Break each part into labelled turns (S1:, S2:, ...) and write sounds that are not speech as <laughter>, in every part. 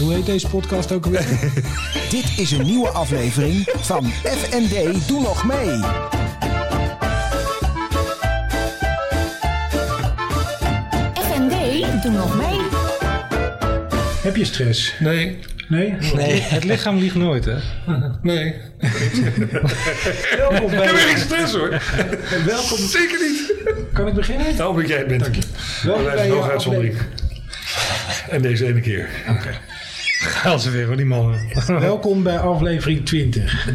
S1: Hoe heet deze podcast ook alweer?
S2: Dit is een nieuwe aflevering van FND Doe Nog Mee.
S3: FND, doe nog mee.
S1: <laughs> Heb je stress?
S4: Nee,
S1: Nee? Nee. Het lichaam liegt nooit, hè?
S4: nee. Ik
S1: Welkom
S4: heb
S1: bij...
S4: geen stress hoor.
S1: Welkom.
S4: Zeker niet.
S1: Kan ik beginnen?
S5: Oh.
S4: Nou, dat jij het bent. Dank je.
S1: Welkom
S4: Dat
S1: bij
S4: blijft
S1: je
S4: nog uitzondering. En deze ene keer. Oké. Gaan ze weer hoor, die mannen.
S1: Welkom bij aflevering 20.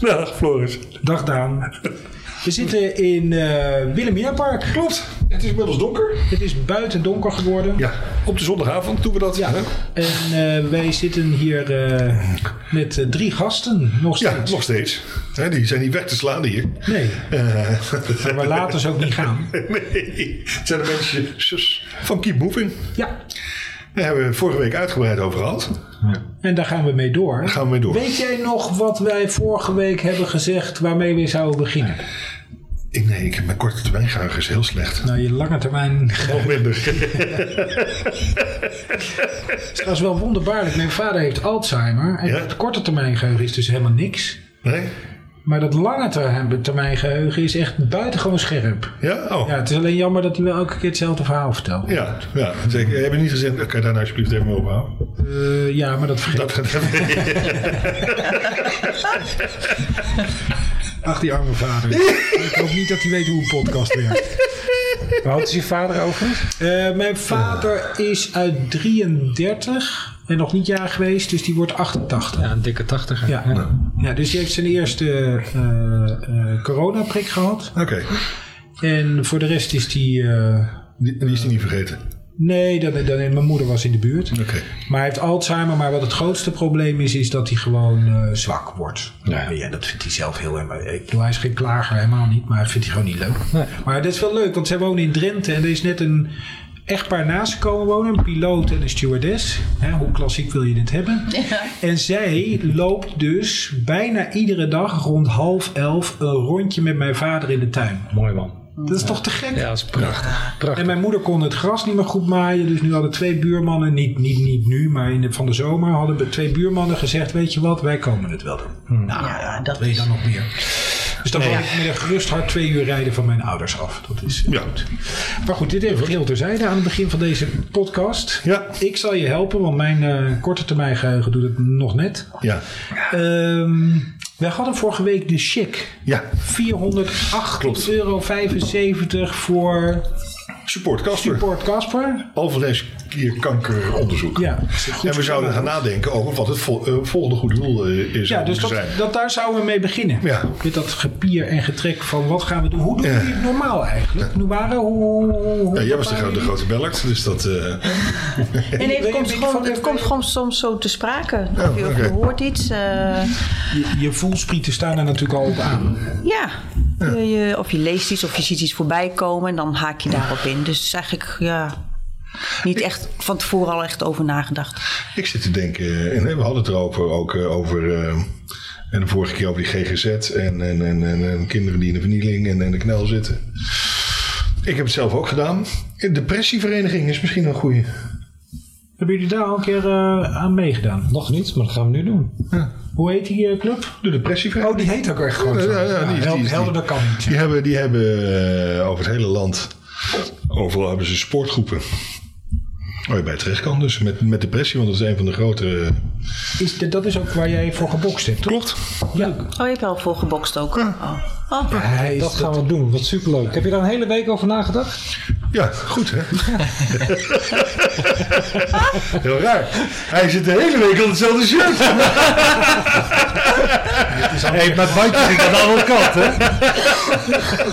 S4: Dag Floris.
S1: Dag Daan. We zitten in eh Willem Park.
S4: Klopt. Het is inmiddels donker.
S1: Het is buiten donker geworden.
S4: Ja, op de zondagavond doen we dat.
S1: Ja.
S4: hè?
S1: En eh, wij zitten hier eh, met eh, drie gasten nog
S4: ja
S1: steeds.
S4: nog steeds. Hè, die zijn niet weg te slaan hier.
S1: Nee,
S4: Eh,
S1: maar we laten ze ook niet gaan.
S4: <laughs> nee, het zijn de mensen van Keep Moving.
S1: Ja,
S4: Daar hebben we vorige week uitgebreid over gehad.
S1: en daar gaan we mee door. Daar
S4: gaan we mee door.
S1: Weet jij nog wat wij vorige week hebben gezegd waarmee we zouden beginnen?
S4: Ik, nee, ik, mijn korte termijn geheugen is heel slecht.
S1: Nou, je lange termijn. <laughs>
S4: Nog minder.
S1: Dat is wel wonderbaarlijk. Mijn vader heeft Alzheimer. En
S4: Ja?
S1: het korte termijn geheugen is dus helemaal niks.
S4: Nee?
S1: Maar dat lange ter- termijn geheugen is echt buitengewoon scherp.
S4: Ja? Oh.
S1: Ja, het is alleen jammer dat hij wel elke keer hetzelfde verhaal vertelt. Ja,
S4: Ja, ja zeker. Heb je niet gezegd, kan je daar nou alsjeblieft even mee ophouden?
S1: Eh, ja maar dat vergeet
S4: Dat, dat-
S1: Ach, die arme vader. <laughs> Ik hoop niet dat hij weet hoe een podcast werkt. Eh,
S5: Waar houdt je vader over?
S1: mijn vader is uit 33 en nog niet jaar geweest, dus die wordt 88.
S5: Ja, een dikke tachtiger.
S1: Ja. Ja, dus die heeft zijn eerste eh, eh, coronaprik gehad.
S4: <laughs> Oké,
S1: En voor de rest is die... eh,
S4: die, die is die niet vergeten.
S1: nee, dan, dan, mijn moeder was in de buurt.
S4: Oké.
S1: Maar hij heeft Alzheimer. Maar wat het grootste probleem is, is dat hij gewoon eh, zwak wordt. Ja. dat vindt hij zelf heel erg. Ik bedoel, hij is geen klager, helemaal niet. Maar dat vindt hij gewoon niet leuk. Maar dat is wel leuk, want zij wonen in Drenthe. En er is net een echtpaar naast ze komen wonen. Een piloot en een stewardess. Hè, hoe klassiek wil je dit hebben? En zij loopt dus bijna iedere dag rond half elf een rondje met mijn vader in de tuin.
S5: Mooi man.
S1: Dat is toch te gek?
S5: Ja, dat is prachtig.
S1: En
S5: Prachtig.
S1: mijn moeder kon het gras niet meer goed maaien. Dus nu hadden twee buurmannen, niet, niet, niet nu, maar in de, van de zomer, hadden we twee buurmannen gezegd: Weet je wat, wij komen het wel doen.
S4: Hmm.
S1: Nou ja, dat wil je dan nog meer. Dus dan woon ik met een gerust hart twee uur rijden van mijn ouders af. Dat is
S4: Ja.
S1: goed. Maar goed, dit even geheel terzijde aan het begin van deze podcast.
S4: Ja.
S1: Ik zal je helpen, want mijn eh, korte termijn geheugen doet het nog net.
S4: Ja.
S1: Ehm, wij hadden vorige week de chic.
S4: Ja.
S1: 408,75
S4: Klopt.
S1: euro voor
S4: Support Casper.
S1: Port Casper.
S4: alvleesklierkankeronderzoek.
S1: Ja, dat is een goed
S4: en we zouden gaan
S1: programma.
S4: nadenken over wat het vol- eh, volgende goede doel eh, is.
S1: Ja, dus dat,
S4: zijn.
S1: dat daar zouden we mee beginnen.
S4: Ja.
S1: Met dat gepier en getrek van wat gaan we doen? Hoe doen jullie het normaal eigenlijk? Nu waren hoe. hoe
S4: Ja, jij was de, gro- de grote bellert, dus dat... eh,
S1: <laughs>
S6: En
S1: Wil je
S6: het komt,
S1: een
S6: gewoon,
S1: beetje
S6: het
S1: van-
S6: komt gewoon soms zo te sprake.
S4: Oh,
S6: Of je
S4: oké.
S6: hoort iets. eh,
S1: Je, je voelsprieten staan er natuurlijk al op aan.
S6: ja. Je, je- of je leest iets of je ziet iets voorbij komen en dan haak je daarop in. Dus het is eigenlijk ja, niet echt van tevoren al echt over nagedacht.
S4: ik zit te denken, eh, en we hadden het erover ook eh, over... eh, en de vorige keer over die GGZ en, en, en, en, en kinderen die in de vernieling en in de knel zitten. Ik heb het zelf ook gedaan. Depressievereniging is misschien een goede.
S1: Hebben jullie daar al een keer eh, aan meegedaan?
S5: Nog niet, maar dat gaan we nu doen.
S1: Hoe heet die eh, club?
S4: De depressievereniging.
S1: Oh, die heet ook echt gewoon. zo.
S4: Ja, ja, ja, die is-
S1: hel-
S4: die is-
S1: helderder kan niet.
S4: Die hebben, die hebben eh, over het hele land, overal hebben ze sportgroepen. Waar je bij terecht kan dus, met, met depressie, want dat is een van de grote...
S1: Is, de- dat is ook waar jij voor gebokst hebt, toch?
S4: Klopt.
S1: Leuk.
S6: Oh, je hebt wel voor gebokst ook. Oh. Oh.
S1: Hij is
S5: Dat gaan we doen, wat superleuk. Oh, Heb je daar een hele week over nagedacht?
S4: Ja, goed hè? <laughs> Heel raar. Hij zit de hele week op hetzelfde shirt. <laughs> hey, met bandjes zit aan de andere kant hè? Maar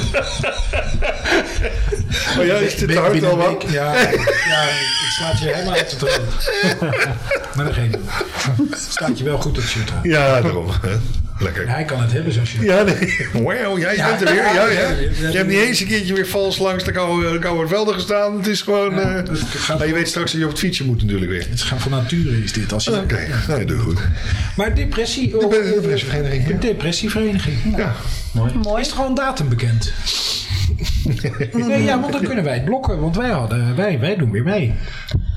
S4: Oh ja, is dit te hard
S1: Binnen een
S4: allemaal?
S1: week- ja,
S4: <laughs>
S1: ja, ik slaat je helemaal uit de droom. maar dat geeft niet. Staat je wel goed op shirt aan.
S4: Ja, daarom. hè. Lekker.
S1: Hij kan het hebben, zo'n shirt.
S4: <laughs> Ja, nee. Wauw, jij bent er weer. Ja, ja. Je hebt niet eens een keertje weer vals langs de koude, de koude velden gestaan. Het is gewoon... eh,
S1: dat gaat-
S4: maar je weet straks dat je op het fietsje moet natuurlijk weer.
S1: Het gaan van nature is dit. Als je...
S4: Oké, nou, je doet goed.
S1: Maar depressie...
S4: Ik ben een depressievereniging.
S1: Een
S4: ja.
S1: depressievereniging.
S4: Ja.
S1: Is er gewoon een datum
S4: <laughs>
S1: bekend? nee, ja, want dan kunnen wij het blokken. Want wij, hadden, wij, wij doen weer mee.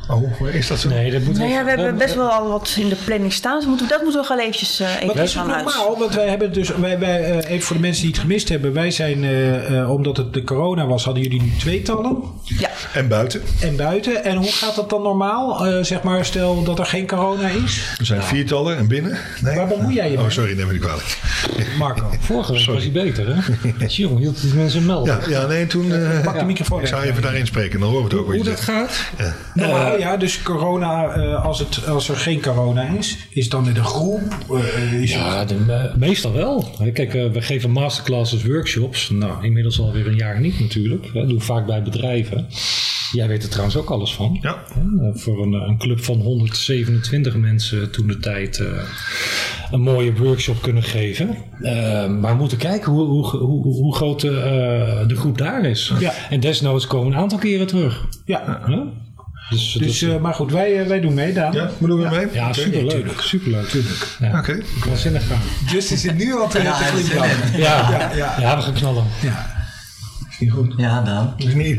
S4: Oh, is dat zo?
S5: Nee, dat moet
S6: Nou ja,
S5: even-
S6: we hebben
S5: dan-
S6: best wel al wat in de planning staan. Dus moeten we- dat moeten we nog wel eventjes eh,
S1: Wat
S6: even
S1: is het
S6: gaan uit.
S1: normaal? Want wij hebben dus, wij, wij, eh, even voor de mensen die het gemist hebben, wij zijn, eh, eh, omdat het de corona was, hadden jullie nu tweetallen
S6: Ja.
S4: En buiten?
S1: en buiten. En hoe gaat dat dan normaal? Eh, zeg maar, stel dat er geen corona is.
S4: Er zijn viertallen en binnen? Nee.
S1: Waar bemoei jij je
S4: Oh, Eh,
S1: mee?
S4: sorry, neem me niet kwalijk. <laughs>
S1: Marco,
S5: Vorige week was hij beter, <laughs> hè? Jongen, hield die mensen melden.
S4: Ja, ja nee, toen... eh,
S1: pak de microfoon
S4: ik zou
S1: even.
S4: even daarin spreken, dan horen we het ook wat je
S5: Hoe dat
S4: zegt.
S5: gaat?
S1: Nou ja, dus corona, eh, als, het, als er geen corona is, is dan in een groep. eh, is
S5: Ja, de, me- meestal wel. Hè, Kijk, eh, we geven masterclasses, workshops. Nou, inmiddels alweer een jaar niet natuurlijk. Hè, doen we vaak bij bedrijven. Jij weet er trouwens ook alles van.
S4: Ja.
S5: Hè, Voor een, eh, een club van 127 mensen toen de tijd eh, een mooie workshop kunnen geven. Eh, maar we moeten kijken hoe, hoe, hoe, hoe groot de, eh, de groep daar is.
S1: Ja.
S5: En desnoods komen we een aantal keren terug.
S1: ja.
S5: Hè? Dus,
S1: Dus, eh, maar goed, wij, eh, wij doen mee, Daan.
S4: Ja, maar doen we mee?
S5: ja,
S4: Oké.
S5: superleuk. superleuk. Tuurlijk. Ja,
S4: Oké.
S5: Waanzinnig gaan.
S1: Justin zit Dus nu al te ja, glimlachen.
S5: Ja, ja,
S1: ja.
S5: we gaan knallen.
S4: Is niet goed.
S3: Ja, Daan.
S4: Dit is niet,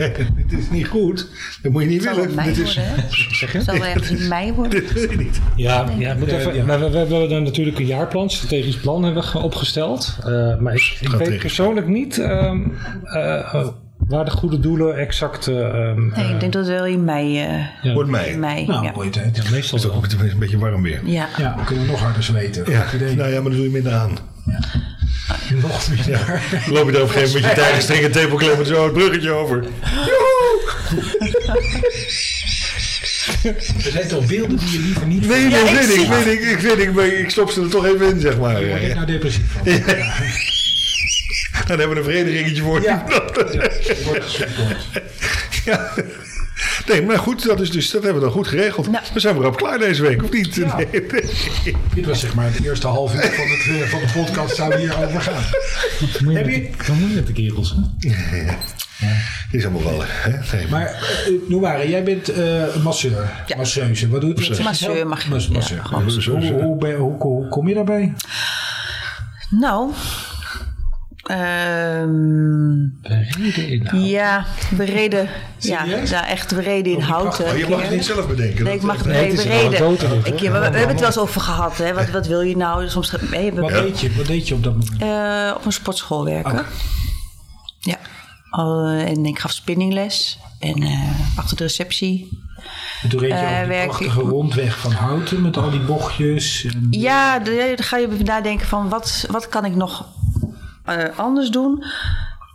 S4: dit is niet goed. Dat moet je niet
S6: Zal
S4: willen.
S6: wel mei
S4: Dit is, <laughs>
S6: worden, hè?
S5: Zeg je?
S6: Zal wel ergens in mei worden.
S4: dit wil je niet.
S5: Ja, ja, het moet even,
S1: ja.
S5: maar We, we hebben dan natuurlijk een jaarplan, strategisch plan hebben we ge- opgesteld. Eh, maar ik, ik weet
S4: Strategisch.
S5: persoonlijk niet ehm, eh, eh, waar de goede doelen exact... eh, ehm,
S6: Nee, ik denk dat het wel in mei. eh,
S5: ja.
S4: Wordt
S6: in
S4: mij. Het
S6: mei
S1: Nou,
S6: ja.
S1: mooie tijd.
S5: ja, meestal
S4: is ook
S5: wel.
S4: het is een beetje warm weer.
S6: ja.
S1: Ja, Nou, we kunnen nog harder zweten.
S4: Ja.
S1: Goed idee.
S4: Nou ja, maar dan doe je minder aan.
S1: nog meer.
S4: Dan Loop je daar op een gegeven moment met je tijgerstring en tepelklem en zo het bruggetje over.
S1: Er zijn toch beelden die je liever niet
S4: Nee,
S6: Ja,
S4: nee,
S6: ik
S4: weet
S6: zie
S4: ik, weet ik, ik weet ik, maar ik stop ze er toch even in, zeg maar.
S1: Word ik
S4: Ja.
S1: nou depressief van? Ja.
S4: Dan hebben we een verenigingetje voor.
S1: Ja.
S4: Ja. Nee, maar goed, dat, is dus, dat hebben we dan goed geregeld.
S6: Nou.
S4: We zijn weer op klaar deze week, of niet? Nee, nee.
S1: Dit was zeg maar het eerste half uur van, het, eh, van de podcast zou hierover gaan.
S5: Moet je
S1: Heb
S5: met
S1: je-
S5: de- Dan moet je met de kerels. hè?
S4: Dit is allemaal wel. Hè? Nee,
S1: Maar eh, Noire, jij bent eh, masseur.
S6: Ja.
S1: Masseuse. Wat doet het?
S6: Masseur mag je-
S1: Mas-
S6: ja,
S1: masseur.
S6: gewoon.
S1: Dus hoe, hoe, ben- hoe- hoe kom je daarbij?
S6: Nou. ehm,
S5: Bereden inhoud.
S6: ja, bereden. Ja,
S1: Serieus?
S6: ja, echt bereden in hout.
S1: prachtig.
S6: eh,
S4: Oh, je mag het niet zelf bedenken.
S6: Nee, ik
S4: dat-
S6: mag
S5: Nee, het is een
S6: bereden.
S5: anekdote,
S6: Ik, we, we hebben het wel eens over gehad. Hè. Wat, wat wil je nou? Soms ge- nee, we-
S1: Wat, deed je, wat deed je op dat moment?
S6: eh, op een sportschool werken.
S1: Oké.
S6: Ja. Al, eh, en ik gaf spinningles. En eh, achter de receptie.
S1: En toen reed je
S6: eh,
S1: over die
S6: werk-
S1: prachtige rondweg van houten met al die bochtjes. En,
S6: Ja, de- ja, dan ga je nadenken van wat, wat kan ik nog eh, anders doen.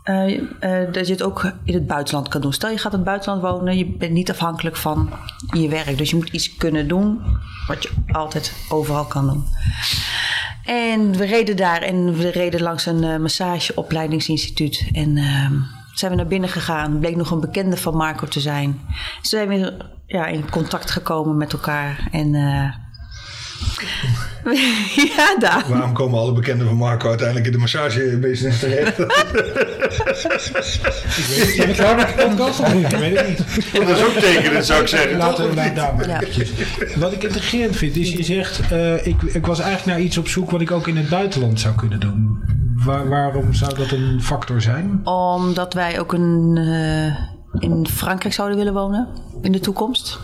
S6: Eh, eh, dat je het ook in het buitenland kan doen. Stel je gaat in het buitenland wonen, je bent niet afhankelijk van je werk. Dus je moet iets kunnen doen wat je altijd overal kan doen. En we reden daar en we reden langs een eh, massageopleidingsinstituut. En ehm, zijn we naar binnen gegaan. Bleek nog een bekende van Marco te zijn. Ze zijn weer ja, in contact gekomen met elkaar. En eh, <laughs> ja, daar.
S4: Waarom komen alle bekenden van Marco uiteindelijk in de massagebusiness terecht?
S5: Zijn we klaar met de podcast of niet?
S1: Ik weet het niet.
S4: dat is ook tekenend, zou ik zeggen.
S1: Laten we daar, daar maar
S6: Ja.
S1: eventjes. Wat ik intrigerend vind, is je zegt... eh, ik, ik was eigenlijk naar iets op zoek wat ik ook in het buitenland zou kunnen doen. Waar- waarom zou dat een factor zijn?
S6: Omdat wij ook een, eh, in Frankrijk zouden willen wonen in de toekomst.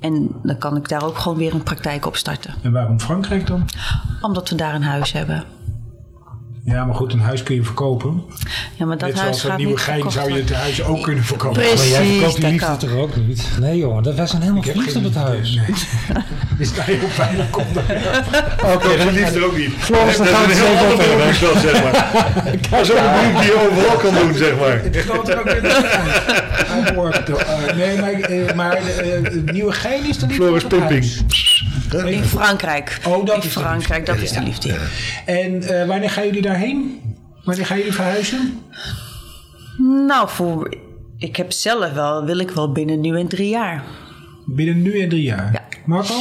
S6: En dan kan ik daar ook gewoon weer een praktijk op starten.
S1: En waarom Frankrijk dan?
S6: Omdat we daar een huis hebben.
S1: Ja, maar goed, een huis kun je verkopen.
S6: Ja, maar dat
S1: Net
S6: huis
S1: zoals
S6: gaat
S1: dat nieuwe
S6: niet
S1: gein
S6: verkocht
S1: zou je
S6: worden.
S1: het huis ook kunnen verkopen.
S6: Precies.
S5: Maar jij verkoopt die
S6: dat
S5: liefde
S6: kan.
S5: toch ook niet? Nee jongen, dat- wij zijn helemaal verliefd op het huis.
S1: Is daar heel pijnlijk om
S4: Oké, dat liefst er ook niet.
S5: Floris, dan
S4: dat
S5: gaan we
S4: is een
S5: het zo
S4: heel ander
S5: verder.
S4: beroep dan, zeg maar. <laughs> Dat is ook een beroep die je overal kan doen, zeg maar. <laughs>
S1: Nee, maar, eh, maar eh, het nieuwe gein is er niet
S4: Floris
S1: op het
S4: Pimping.
S1: huis.
S6: In Frankrijk.
S1: Oh, dat
S6: in
S1: is de
S6: Frankrijk, dat is de liefde.
S1: En eh, wanneer gaan jullie daarheen? Wanneer gaan jullie verhuizen?
S6: Nou, voor, ik heb zelf wel, wil ik wel binnen nu en drie jaar.
S1: Binnen nu en drie jaar.
S6: Ja.
S1: Marco?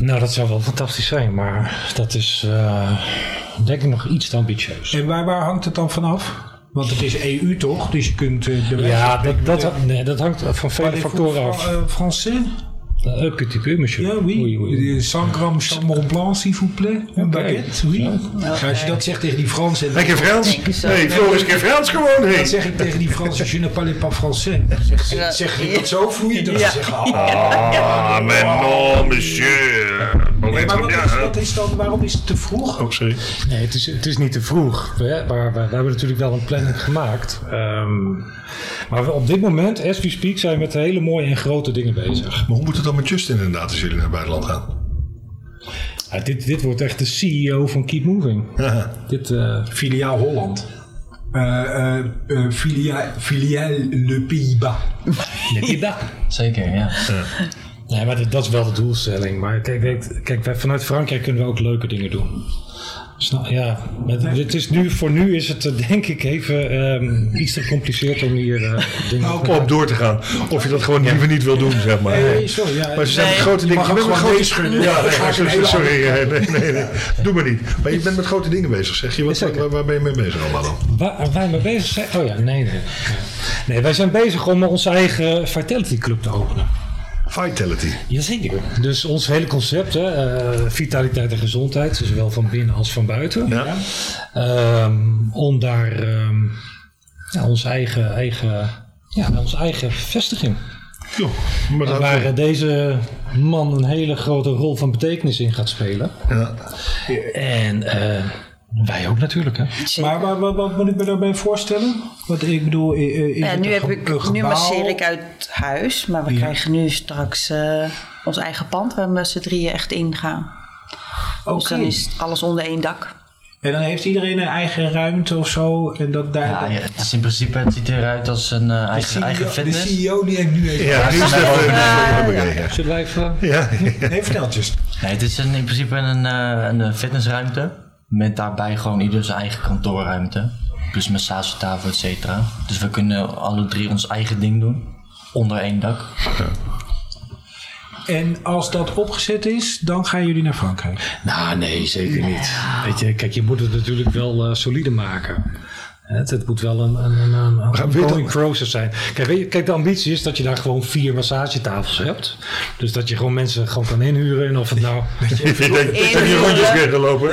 S5: Nou, dat zou wel fantastisch zijn, maar dat is eh, denk ik nog iets te ambitieus.
S1: En waar, waar hangt het dan vanaf? Want het is EU toch? Dus je kunt... eh, de
S5: Ja, dat, dat, nee, dat hangt van vele
S1: Parlez-vous
S5: factoren
S1: Fra-
S5: af.
S1: eh, Français?
S5: Euh, un petit peu, monsieur.
S1: Ja, oui.
S5: Oui, oui, oui.
S1: 100 gram chambon blanc, s'il vous plaît. Een baguette, oui. Ja, als je dat zegt tegen die Fransen...
S4: Lekker Frans.
S6: Denk ik zo.
S4: Nee, Floris, keer Frans gewoon.
S1: Dat
S4: Hey.
S1: zeg ik tegen die Fransen, je ne parle pas français. Zeg, ze- zeg ik dat zo voel je dat ze
S6: Ja.
S1: zeggen, ah,
S4: Ah, mais non, monsieur.
S1: Nee, maar wat is,
S4: Ja,
S1: wat is dan, waarom is het te vroeg?
S4: Oh, sorry.
S5: Nee, het is, het is niet te vroeg. We, maar we, we hebben natuurlijk wel een planning <laughs> gemaakt. Ehm, maar we- op dit moment, as we speak, zijn we met hele mooie en grote dingen bezig.
S4: Maar hoe moet het dan met Justin inderdaad als jullie naar het buitenland gaan?
S5: Ja, dit, dit wordt echt de CEO van Keep Moving. Dit, eh,
S1: Filiaal Holland. Eh eh eh, filia- filiaal Le Pays-Bas.
S3: Zeker, ja.
S5: Nee, maar dat, dat is wel de doelstelling. Maar kijk, kijk, kijk wij, vanuit Frankrijk kunnen we ook leuke dingen doen. Snap, ja, het, het is nu, voor nu is het eh, denk ik even ehm, iets te gecompliceerd om hier eh, dingen te
S4: Op door te gaan. Of je dat gewoon liever niet wil doen, zeg maar.
S1: sorry. Ja,
S4: Maar ze zijn met grote dingen.
S1: mag
S4: Je
S1: ook
S4: bent met
S1: gewoon
S4: grote
S1: meeschudden.
S4: Ja, nee,
S1: Dan ga ik
S4: sorry,
S1: een hele
S4: sorry, eh, nee, nee, nee. Doe maar niet. Maar je bent met grote dingen bezig, zeg je. Wat, waar, waar ben je mee bezig allemaal dan?
S5: Waar wij mee bezig zijn? Oh ja, nee, nee. Nee, wij zijn bezig om onze eigen Vitality Club te openen.
S4: Vitality.
S5: Jazeker. Dus ons hele concept, hè, eh, vitaliteit en gezondheid, zowel van binnen als van buiten.
S4: Ja.
S5: Ehm, om daar ehm ja, ons eigen, eigen, ja, onze eigen vestiging.
S4: Joh, maar dat,
S5: Waar eh, deze man een hele grote rol van betekenis in gaat spelen.
S4: ja.
S5: En eh, wij ook natuurlijk, hè.
S1: Maar, maar wat, wat moet ik me daarbij voorstellen? Wat ik bedoel, eh, eh, is
S6: Ja,
S1: het
S6: nu,
S1: een
S6: heb
S1: ge- een
S6: ik, nu
S1: gebouw?
S6: masseer ik uit huis, maar we krijgen nu straks eh, ons eigen pand waar we met z'n drieën echt ingaan.
S1: Oké.
S6: Dus dan is alles onder één dak.
S1: En dan heeft iedereen een eigen ruimte of zo. En dat daar...
S3: Ja, ja, het is in principe, het ziet eruit als een eh,
S1: de
S3: eigen,
S1: CEO
S3: eigen
S1: de
S3: fitness.
S1: CEO die heeft
S4: <laughs>
S1: nu even...
S4: ja, nu is dat eh, dat hebben we gekregen.
S5: Zullen wij even...
S4: Ja,
S1: Nee, vertel het eens.
S3: Nee, het is een, in principe een, eh, een fitnessruimte. Met daarbij gewoon ieder zijn eigen kantoorruimte. Plus massagetafel, et cetera. Dus we kunnen alle drie ons eigen ding doen. Onder één dak.
S1: En als dat opgezet is, dan gaan jullie naar
S4: <laughs>
S1: Frankrijk.
S5: Nou, nee, zeker niet. Weet je, kijk, je moet het natuurlijk wel eh, solide maken. Het, het moet wel een, een, een, een ongoing process zijn. Kijk, weet je, kijk, de ambitie is dat je daar gewoon vier massagetafels hebt. Dus dat je gewoon mensen gewoon kan inhuren. En of het nou...
S4: ik denk dat je rondjes weer gelopen.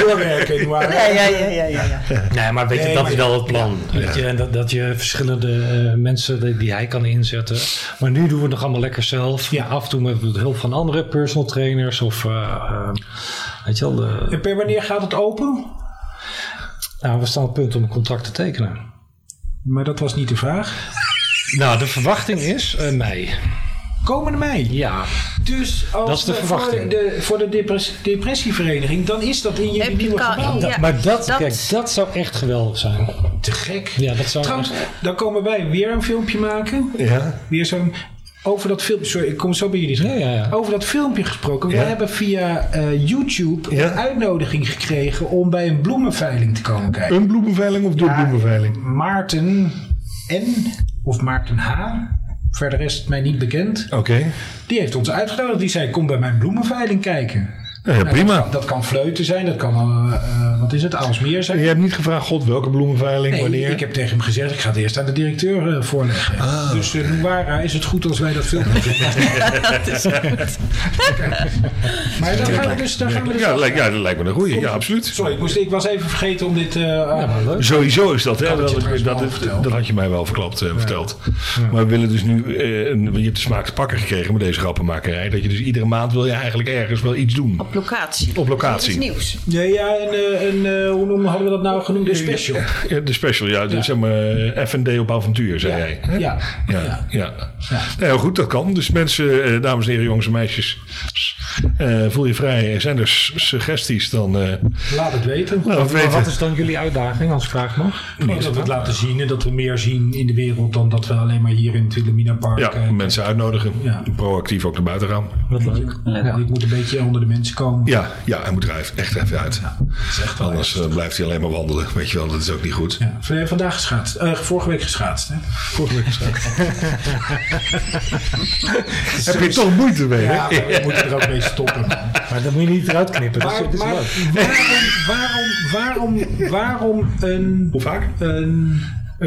S1: doorwerken, maar...
S6: ja, ja, ja, ja. ja.
S5: Nee, maar weet
S1: <laughs>
S5: je,
S1: Nee,
S5: dat
S1: maar-
S5: is wel het plan. Weet je, en dat, dat je verschillende eh, mensen die, die hij kan inzetten. Maar nu doen we het nog allemaal lekker zelf.
S1: Ja.
S5: Af en toe met de hulp van andere personal trainers. Of, eh, eh, weet je wel, de-
S1: En per wanneer gaat het open?
S5: nou, we staan op het punt om een contract te tekenen.
S1: Maar dat was niet de vraag.
S5: Nou, de verwachting is eh, mei.
S1: Komende mei.
S5: Ja.
S1: Dus als
S5: Dat is de
S1: we
S5: verwachting.
S1: Voor de, voor de depress- depressievereniging, dan is dat in jullie
S6: Heb je
S1: nieuwe
S6: kan-
S1: gebouw.
S6: ja.
S5: Da- maar dat,
S6: dat-
S5: Kijk, dat zou echt geweldig zijn.
S1: Te gek.
S5: Ja, dat zou
S1: Trouwens,
S5: echt-
S1: dan komen wij weer een filmpje maken.
S4: Ja.
S1: Weer zo'n... Over dat filmpje... Sorry, ik kom zo bij jullie. terug.
S5: Ja, ja, ja.
S1: Over dat filmpje gesproken. Wij
S4: Ja.
S1: hebben via eh, YouTube
S4: Ja.
S1: een uitnodiging gekregen om bij een bloemenveiling te komen kijken.
S4: Een bloemenveiling of de bloemenveiling?
S1: Maarten N. of Maarten H. Verder is het mij niet bekend.
S4: Oké.
S1: Die heeft ons uitgenodigd. Die zei, kom bij mijn bloemenveiling kijken.
S4: Nou ja, prima.
S1: Dat kan fleuten zijn, dat kan, eh, eh, wat is het, Aalsmeer zijn.
S4: Je hebt niet gevraagd, god, welke bloemenveiling,
S1: Nee,
S4: wanneer? Ah.
S1: ik heb tegen hem gezegd, ik ga het eerst aan de directeur eh, voorleggen. Dus eh Noara, is het goed als wij dat
S4: <laughs>
S1: filmen? <laughs> maar dan gaan we dus... Dan gaan we dus
S4: ja, lijkt, ja, dat lijkt me een goeie. Ja, absoluut.
S1: sorry, ik, moest, ik was even vergeten om dit... eh,
S5: maar leuk.
S4: Sowieso is dat, hè?
S1: had
S4: Dat,
S1: je trouwens
S4: dat,
S1: wel
S4: dat-
S1: verteld.
S4: dat had je mij wel verklapt en verteld. Maar we willen dus nu, eh, een- je hebt de smaak te pakken gekregen met deze grappenmakerij. Dat je dus iedere maand wil je eigenlijk ergens wel iets doen.
S6: Op locatie.
S4: Op locatie.
S6: Iets nieuws.
S1: ja, ja, en, eh, en eh, hoe noemen, hadden we dat nou genoemd? Een special.
S4: Ja, de special, ja. de- Zeg maar eh, F&D op avontuur, zei jij. hè?
S1: ja.
S4: Ja, ja. Nou, heel goed, dat kan. Dus mensen, eh, dames en heren, jongens en meisjes. eh, voel je vrij. Zijn er s- suggesties, dan eh
S1: Nou, Laat het weten.
S4: laat het
S5: Maar
S4: weten.
S5: wat is dan jullie uitdaging, als ik vraag mag?
S1: Gewoon dat we het laten zien en dat we meer zien in de wereld dan dat we alleen maar hier in het Wilhelmina Park.
S4: Ja,
S1: eh,
S4: mensen uitnodigen.
S1: Ja.
S4: Proactief ook naar buiten gaan.
S5: Wat leuk.
S1: Dit moet een beetje onder de mensen komen.
S4: Ja, ja, hij moet er even- echt even uit. Anders eh, blijft hij alleen maar wandelen. Weet je wel, dat is ook niet goed.
S1: Ja, v- vandaag geschaatst. Eh, vorige week geschaatst. Hè?
S4: Vorige week gezegd. Heb je toch moeite mee, hè?
S1: Ja, maar we moeten er ook mee stoppen. man.
S5: Maar dat moet je niet eruit knippen. Dat is,
S1: Maar,
S5: dat is
S1: maar
S5: leuk.
S1: waarom, waarom, waarom, waarom een,
S4: Hoe vaak?
S1: een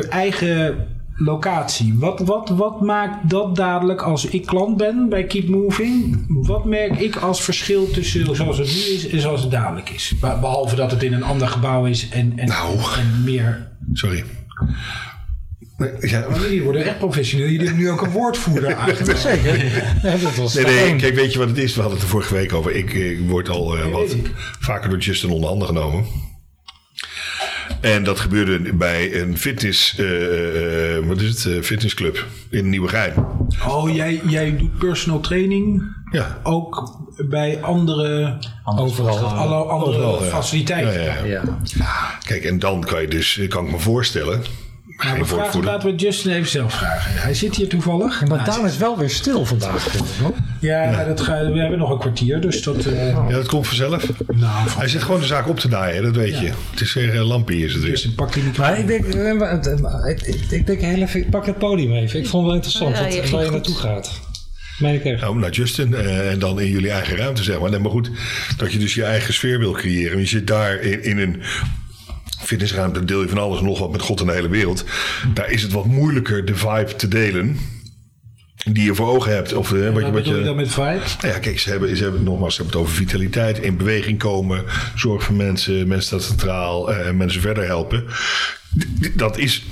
S1: eigen locatie. Wat, wat, wat maakt dat dadelijk als ik klant ben bij Keep Moving? Wat merk ik als verschil tussen zoals het nu is en zoals het dadelijk is? Be- Behalve dat het in een ander gebouw is en, en,
S4: Nou.
S1: en meer.
S4: Sorry. Nee, ja,
S1: Maar Jullie worden echt professioneel. Jullie hebben nu ook een <laughs> woordvoerder aangezet.
S5: Ja, dat was
S4: Nee,
S5: toch
S4: nee,
S5: één.
S4: kijk, weet je wat het is? We hadden het er vorige week over. Ik, eh, word al eh, wat
S1: weet ik.
S4: vaker door Justin onder handen genomen. En dat gebeurde bij een fitness, eh, eh, wat is het? Eh, fitnessclub in Nieuwegein.
S1: Oh, jij, jij doet personal training
S4: Ja.
S1: ook bij andere,
S5: Overal.
S1: alle andere
S4: Overal, ja. Ja,
S1: faciliteiten.
S4: ja, ja.
S5: Ja.
S4: Kijk, en dan kan je dus, kan ik me voorstellen.
S1: Nou, Maar we
S4: Geen
S1: vragen,
S4: woordvoerder.
S1: laten we Justin even zelf vragen. Hij zit hier toevallig. Nou,
S5: Maar Daan is wel weer stil vandaag. vind ik, hoor.
S1: Ja, Dat ga, we hebben nog een kwartier, dus dat... eh,
S4: Ja, dat komt vanzelf.
S1: nou,
S4: Hij zit gewoon de zaak op te naaien, hè, dat weet je. Het is weer een lampie, is het weer.
S1: Justin, pak die microfoon.
S5: Maar ik denk, eh, maar het- eh, maar ik, ik, ik denk heel even, ik pak het podium even. Ik vond het wel interessant
S6: Ja,
S5: wat-
S6: je ging
S5: waar je
S6: goed.
S5: naartoe gaat. Meen ik echt.
S4: Nou, naar Justin eh, en dan in jullie eigen ruimte, zeg maar. Nee, maar goed, dat je dus je eigen sfeer wil creëren. Je zit daar in, in een fitnessruimte, deel je van alles en nog wat met God en de hele wereld. Daar is het wat moeilijker de vibe te delen die je voor ogen hebt. Of, eh, wat je,
S1: Wat
S4: wat
S1: bedoel
S4: je,
S1: je dan met vibe?
S4: Nou ja, kijk, ze hebben, ze hebben het nogmaals ze hebben het over vitaliteit, in beweging komen, zorg voor mensen, mensen staat centraal eh, en mensen verder helpen. D- d- Dat is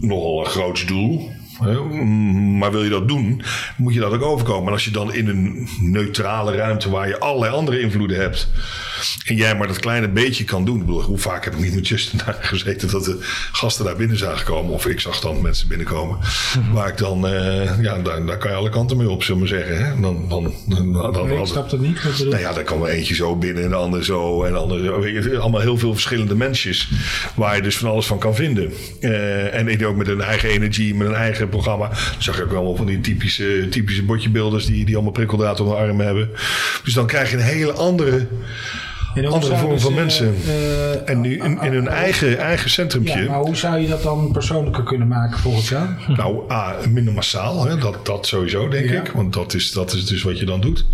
S4: nogal een groot doel. hè. Mm, Maar wil je dat doen, moet je dat ook overkomen. En als je dan in een neutrale ruimte waar je allerlei andere invloeden hebt. en jij maar dat kleine beetje kan doen. Ik bedoel, hoe vaak heb ik niet met Justin daar gezeten. dat de gasten daar binnen zagen komen. of ik zag dan mensen binnenkomen.
S1: Mhm.
S4: waar ik dan, eh, ja, daar, daar kan je alle kanten mee op, zullen we maar zeggen. Hè? Dan, dan, dan, dan,
S1: Nee, ik
S4: hadden-
S1: snap dat niet. Wat bedoel je?
S4: nou ja, dan kan er eentje zo binnen en de ander zo en de ander zo. Weet je, allemaal heel veel verschillende mensjes. Waar je dus van alles van kan vinden. Eh, en ik ook met een eigen energie, met een eigen programma. Dan zag je ook allemaal van die typische, typische botjebeelders die, die allemaal prikkeldraad om de arm hebben. Dus dan krijg je een hele andere...
S1: En hoe
S4: andere
S1: zouden
S4: vorm van
S1: ze,
S4: mensen.
S1: eh, eh,
S4: En nu in, in hun eigen, eigen centrumpje.
S1: Ja, maar hoe zou je dat dan persoonlijker kunnen maken volgens jou?
S4: <laughs> Nou, A, minder massaal. Hè? Dat, dat sowieso, denk
S1: Ja.
S4: ik. Want dat is, dat is dus wat je dan doet.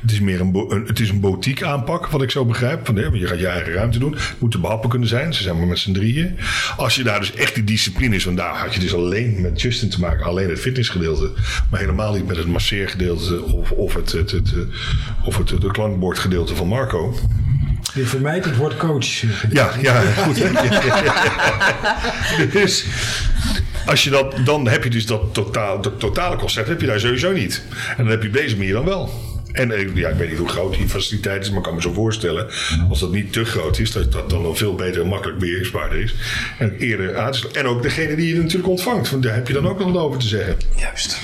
S4: Het is meer een, bo- een, het is een boutique aanpak, wat ik zo begrijp. Van, hè, want je gaat je eigen ruimte doen. Het moeten behappen kunnen zijn. Ze zijn maar met z'n drieën. Als je daar dus echt die discipline is. Want daar had je dus alleen met Justin te maken. Alleen het fitnessgedeelte. Maar helemaal niet met het masseergedeelte. Of, of het, het, het, eh, of het, het klankbordgedeelte van Marco.
S1: Je vermijdt het woord coach.
S4: Ja, ja, goed. <laughs> dus als je dat, dan heb je dus dat, totaal, dat totale concept heb je daar sowieso niet. En dan heb je op deze manier dan wel. En eh, ja, ik weet niet hoe groot die faciliteit is, maar ik kan me zo voorstellen, als dat niet te groot is, dat dat dan wel veel beter en makkelijk beheersbaarder is. En eerder aan te sluiten. En ook degene die je natuurlijk ontvangt, want daar heb je dan ook nog wat over te zeggen.
S1: Juist.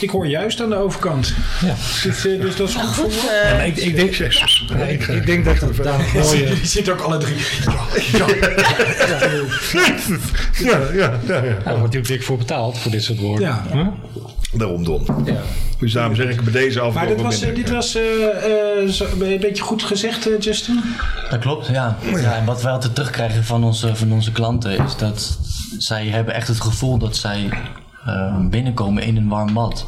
S1: Ik hoor juist aan de overkant.
S5: Ja.
S1: Dus, eh, dus dat is goed voor jou.
S5: Ja, maar ik, ik denk,
S4: Jezus.
S5: ik, ik denk dat het <laughs> daar
S1: <laughs>
S5: een mooie...
S1: Jullie zitten ook alle drie.
S4: <laughs> Ja, ja, ja, ja.
S5: Daar wordt natuurlijk dik voor betaald, voor dit soort woorden.
S1: Ja.
S4: Daarom Don. Dus daarom zeg ik bij deze af.
S1: Maar dit was, eh, dit was eh, eh, zo- een beetje goed gezegd, eh, Justin.
S3: Dat klopt, ja.
S1: Oh
S3: ja. En wat wij altijd terugkrijgen van onze, van onze klanten is dat zij hebben echt het gevoel dat zij eh, binnenkomen in een warm bad.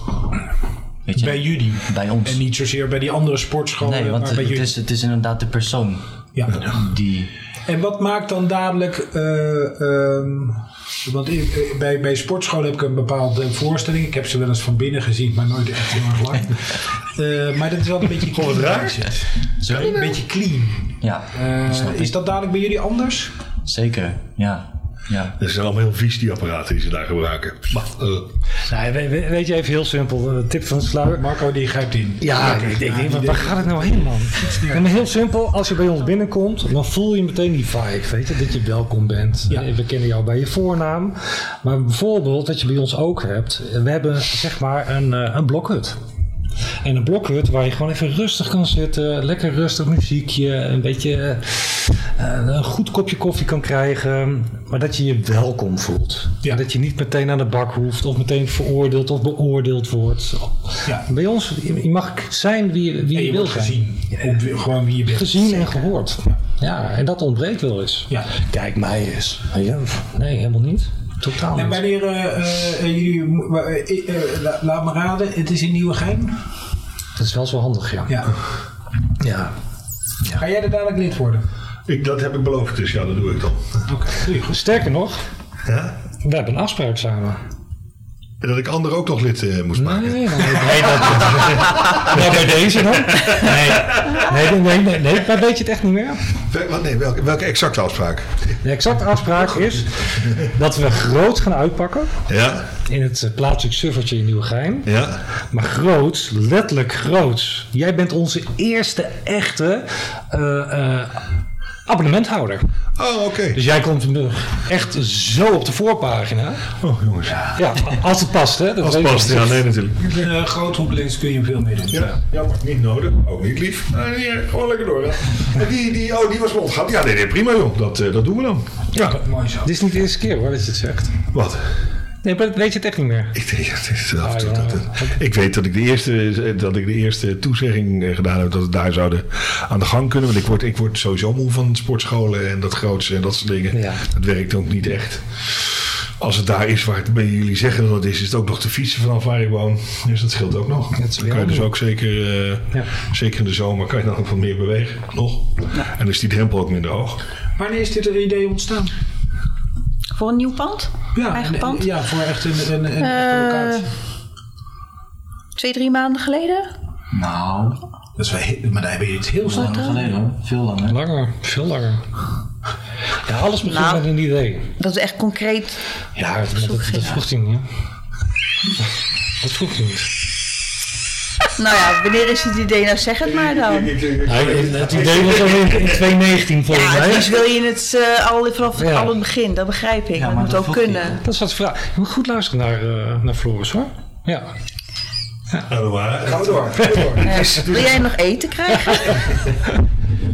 S3: Weet je?
S1: Bij jullie.
S3: Bij ons.
S1: En Eh, niet zozeer bij die andere sportscholen.
S3: nee, want
S1: maar eh, bij
S3: het
S1: jullie.
S3: is, het is inderdaad de persoon
S1: Ja.
S3: die...
S1: En wat maakt dan dadelijk. eh, ehm, want in- eh, bij, bij sportscholen heb ik een bepaalde voorstelling. Ik heb ze wel eens van binnen gezien, maar nooit echt heel erg
S5: <laughs>
S1: lang. Eh, maar dat is wel een beetje clean.
S4: raar.
S1: Een beetje clean.
S3: Ja,
S1: Eh,
S3: dat snap ik.
S1: is dat dadelijk bij jullie anders?
S3: Zeker, ja. ja.
S4: Dat zijn allemaal heel vies, die apparaten die ze daar gebruiken. Maar, eh,
S5: Nee, we- we- weet je, even heel simpel, eh, tip van de sluier.
S1: Marco Oh, die grijpt in. Ah,
S5: Ja, ik denk, waar gaat het nou heen, man? <laughs> En heel simpel, als je bij ons binnenkomt, dan voel je meteen die vibe, weet je, dat je welkom bent. Eh, We kennen jou bij je voornaam, maar bijvoorbeeld dat je bij ons ook hebt, eh, we hebben zeg maar een, eh, een blokhut. En een blokhut waar je gewoon even rustig kan zitten, lekker rustig muziekje, een beetje eh, een goed kopje koffie kan krijgen, maar dat je je welkom voelt.
S1: Ja.
S5: En Dat je niet meteen aan de bak hoeft of meteen veroordeeld of beoordeeld wordt.
S1: Ja.
S5: Bij ons, je mag zijn wie je, wie
S1: En
S5: je,
S1: je
S5: wil
S1: wordt
S5: zijn.
S1: gezien. Op wie- gewoon wie je bent.
S5: Gezien en gehoord. Ja, en dat ontbreekt wel eens.
S1: Ja.
S5: Kijk mij eens. Ja, pff, Nee, helemaal niet. Totaal
S1: En
S5: niet.
S1: wanneer eh, eh, jullie. eh, eh, la- laat me raden, het is in Nieuwegein.
S5: Dat is wel zo handig, ja.
S1: Ja.
S5: ja.
S1: Ga jij er dadelijk lid worden?
S4: ik, dat heb ik beloofd, dus ja, dat doe ik dan.
S1: Oké, doe je goed.
S5: Sterker nog,
S4: Ja?
S5: We hebben een afspraak samen.
S4: En dat ik anderen ook nog lid eh, moest maken.
S1: <laughs>
S5: Nee, nee, dat, <laughs> nee, bij deze dan? Nee. Nee, nee, nee, nee, nee. Maar weet je het echt niet meer?
S4: Wel- wat- nee, welke, welke exacte afspraak?
S5: De exacte afspraak is dat we groot gaan uitpakken
S4: Ja,
S5: in het eh, plaatselijk suffertje in Nieuwegein.
S4: ja.
S5: Maar groots, letterlijk groots. Jij bent onze eerste echte eh, eh, abonnementhouder.
S4: Oh, oké.
S5: Dus jij komt echt zo op de voorpagina.
S4: Oh, jongens.
S5: Ja, als het past, hè? Dat
S4: Als
S5: weet
S4: het
S5: ik
S4: past,
S5: niet.
S4: ja, nee, natuurlijk.
S1: Een eh, groot hoepelings kun je veel meer doen.
S4: Ja, jammer, niet nodig. Ook niet lief. Maar hier, gewoon lekker door. <laughs> hè. Maar Die, die, oh, die was wel ontgaan. Ja, nee, nee, prima joh. Dat, eh, dat doen we dan. Ja.
S1: Mooi zo.
S5: Dit is niet de eerste keer hoor, dat je het zegt.
S4: Wat?
S5: Nee, maar dat weet je het echt niet meer.
S4: Ik, denk, ja, het is
S5: Ah,
S4: af en toe
S5: ja.
S4: dat het- ik weet dat ik, de eerste, dat ik de eerste toezegging eh, gedaan heb dat we daar zouden aan de gang kunnen. Want ik word, ik word sowieso moe van sportscholen en dat grootste en dat soort dingen.
S5: Ja.
S4: Dat werkt ook niet echt. Als het daar is waar het bij jullie zeggen dat het is, is het ook nog te fietsen vanaf waar ik woon. Dus dat scheelt ook nog.
S5: Dat is
S4: dan
S5: weer
S4: kan je dus
S5: moe.
S4: ook zeker, eh,
S5: Ja.
S4: zeker in de zomer, kan je dan ook wat meer bewegen. Nog. En dus die drempel ook minder hoog.
S1: Wanneer is dit een idee ontstaan?
S6: Voor een nieuw pand?
S1: Ja,
S6: Eigen
S1: en-
S6: pand?
S1: Ja, voor echt een, een, een echte
S6: Eh,
S1: locatie.
S6: Twee, drie maanden geleden?
S3: Nou,
S1: Dat is wel he- maar daar hebben jullie het heel
S3: veel
S1: snel.
S3: langer geleden hoor. Veel langer.
S5: Langer, veel langer. Ja, alles begint
S6: Nou.
S5: met een idee.
S6: Dat is echt concreet. <laughs>
S5: Ja, dat, dat, dat vroeg hij niet. hè? Dat vroeg hij niet.
S6: Nou ja, wanneer is het idee? Nou zeg het maar dan.
S5: Hij, het idee was al in, in 2019 volgens
S6: Ja, het liefst
S5: mij.
S6: wil je het eh, al vanaf
S5: Ja.
S6: al het begin, dat begrijp ik.
S3: Ja,
S6: dat
S3: maar
S6: moet
S3: dat
S6: ook
S3: voelt niet.
S6: kunnen.
S5: Dat is wat de vraag. Je moet goed luisteren naar, eh, naar Floris hoor. Ja.
S4: Nou, maar,
S1: Gaan we door.
S6: Wil jij nog eten krijgen?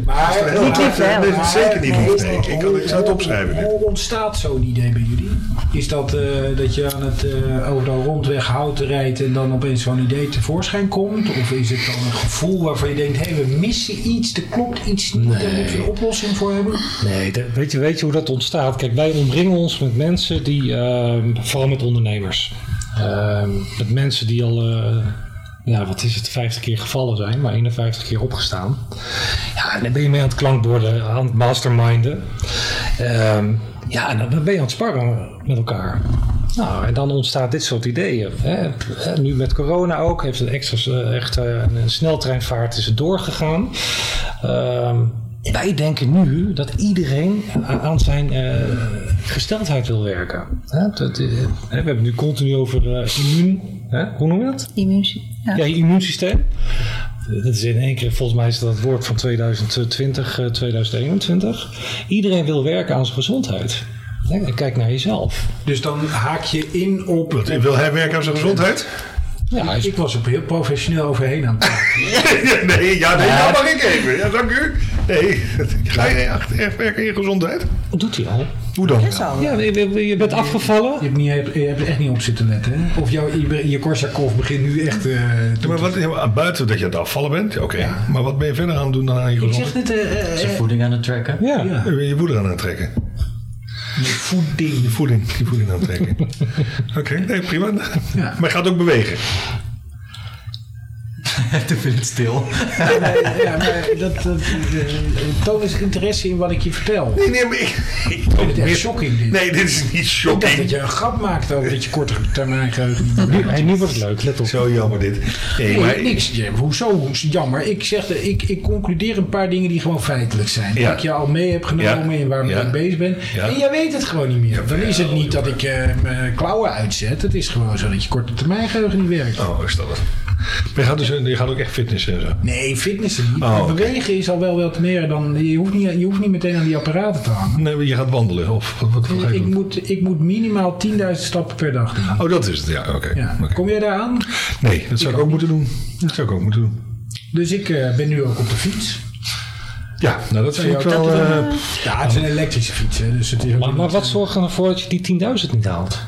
S1: Maar
S6: Niet lief, hè?
S4: Nee, dat is zeker niet lief, nee. Ik, ik, kan- ik zou het opschrijven.
S1: Hoe,
S4: dit.
S1: hoe ontstaat zo'n idee bij jullie? Is dat eh, dat je aan het eh, overal rondweg hout rijdt en dan opeens zo'n idee tevoorschijn komt? Of is het dan een gevoel waarvan je denkt, hé, we missen iets, er klopt iets niet, daar moeten we een oplossing voor hebben?
S5: Nee, dat- weet, je, weet je hoe dat ontstaat? Kijk, wij omringen ons met mensen die, ehm, vooral met ondernemers. Ehm, met mensen die al, eh, ja, wat is het, 50 keer gevallen zijn, maar 51 keer opgestaan. Ja, en daar ben je mee aan het klankborden, aan het masterminden. Ehm, ja, en dan ben je aan het sparren met elkaar. Nou, en dan ontstaat dit soort ideeën. Hè. Eh, Nu met corona ook, heeft het extra, eh, echt eh, een sneltreinvaart is het doorgegaan. Ehm, wij denken nu dat iedereen a- aan zijn eh, gesteldheid wil werken. Hè, dat, eh, hè, we hebben het nu continu over eh, immuun, hè, hoe noem je dat?
S6: Immuunsysteem. Ja.
S5: Ja, je immuunsysteem. Dat is in één keer, volgens mij is dat het woord van 2020, eh, 2021. Iedereen wil werken aan zijn gezondheid. Hè, en Kijk naar jezelf.
S1: Dus dan haak je in op...
S4: Wat, Wil hij werken aan zijn gezondheid?
S5: Ja, hij is-
S1: Ik was er heel professioneel overheen aan het praten.
S4: nee, <laughs> ja, nee, dat mag ik even. Ja, dank u. Nee, ga je echt, echt werken in je gezondheid?
S5: doet hij al.
S4: Hoe dan?
S6: Zo.
S5: Ja, je- je je bent afgevallen.
S1: Je hebt, niet, je hebt- je hebt er echt niet op zitten letten, hè? Of jouw, je, je Korsakoff begint nu echt... eh,
S4: Ja, maar wat, ja, maar buiten dat je aan het afvallen bent, oké. Maar wat ben je verder aan het doen dan aan je
S1: ik zeg
S4: gezondheid?
S1: net, eh, eh,
S3: Zijn voeding aan het tracken.
S5: Ja.
S1: Ja.
S4: Je bent je voeding aan het trekken.
S1: voeding.
S4: Je voeding, je voeding aan het <laughs> trekken. oké, nee, prima. Maar je gaat ook bewegen.
S3: Toen vind ik het stil.
S1: <laughs> Ja, maar dat, dat, eh, toon eens interesse in wat ik je vertel.
S4: Nee, nee, maar ik... ik
S1: Ik vind het echt shocking dit.
S4: Nee, dit is niet
S1: Ik dacht dat
S4: shocking.
S1: je een grap maakt over dat je korte termijn geheugen niet meer hebt.
S5: Hey, nu wordt het leuk, let op.
S4: Zo jammer dit. Nee, maar...
S1: Nee, niks. Ja, hoezo? Hoezo? Jammer. Ik, zeg, de- ik, ik concludeer een paar dingen die gewoon feitelijk zijn.
S4: Ja.
S1: Die ik je al mee heb genomen
S4: Ja.
S1: en waar ik
S4: Ja.
S1: mee bezig ben.
S4: Ja. oh,
S1: En jij weet het gewoon niet meer. Dan is het niet dat ik eh, mijn klauwen uitzet. Het is gewoon zo dat je korte termijn geheugen niet werkt.
S4: Oh, is dat het. Maar je gaat, dus, je gaat ook echt fitnessen en zo.
S1: Nee, fitnessen niet.
S4: Oh,
S1: Maar
S4: oké.
S1: Bewegen is al wel wat meer dan... Je hoeft, niet, je hoeft niet meteen aan die apparaten te hangen.
S4: Nee, maar je gaat wandelen of wat, wat, wat ga je
S1: Ik
S4: doen?
S1: moet, ik moet minimaal 10.000 stappen per dag doen.
S4: Oh, dat is het. Ja, oké.
S1: Ja.
S4: Oké.
S1: Kom jij daar aan?
S4: Nee, dat zou ik ook moeten doen. Dat zou ik ook moeten doen.
S1: Dus ik eh, ben nu ook op de fiets.
S4: Ja, nou dat vind
S1: Zou
S4: ik
S1: jou
S4: wel...
S1: dat
S4: eh,
S1: Ja, het is een elektrische fiets. Hè, dus het is ook
S5: Maar,
S1: niet-
S5: maar wat zorgt er nou voor dat je die 10.000 niet haalt?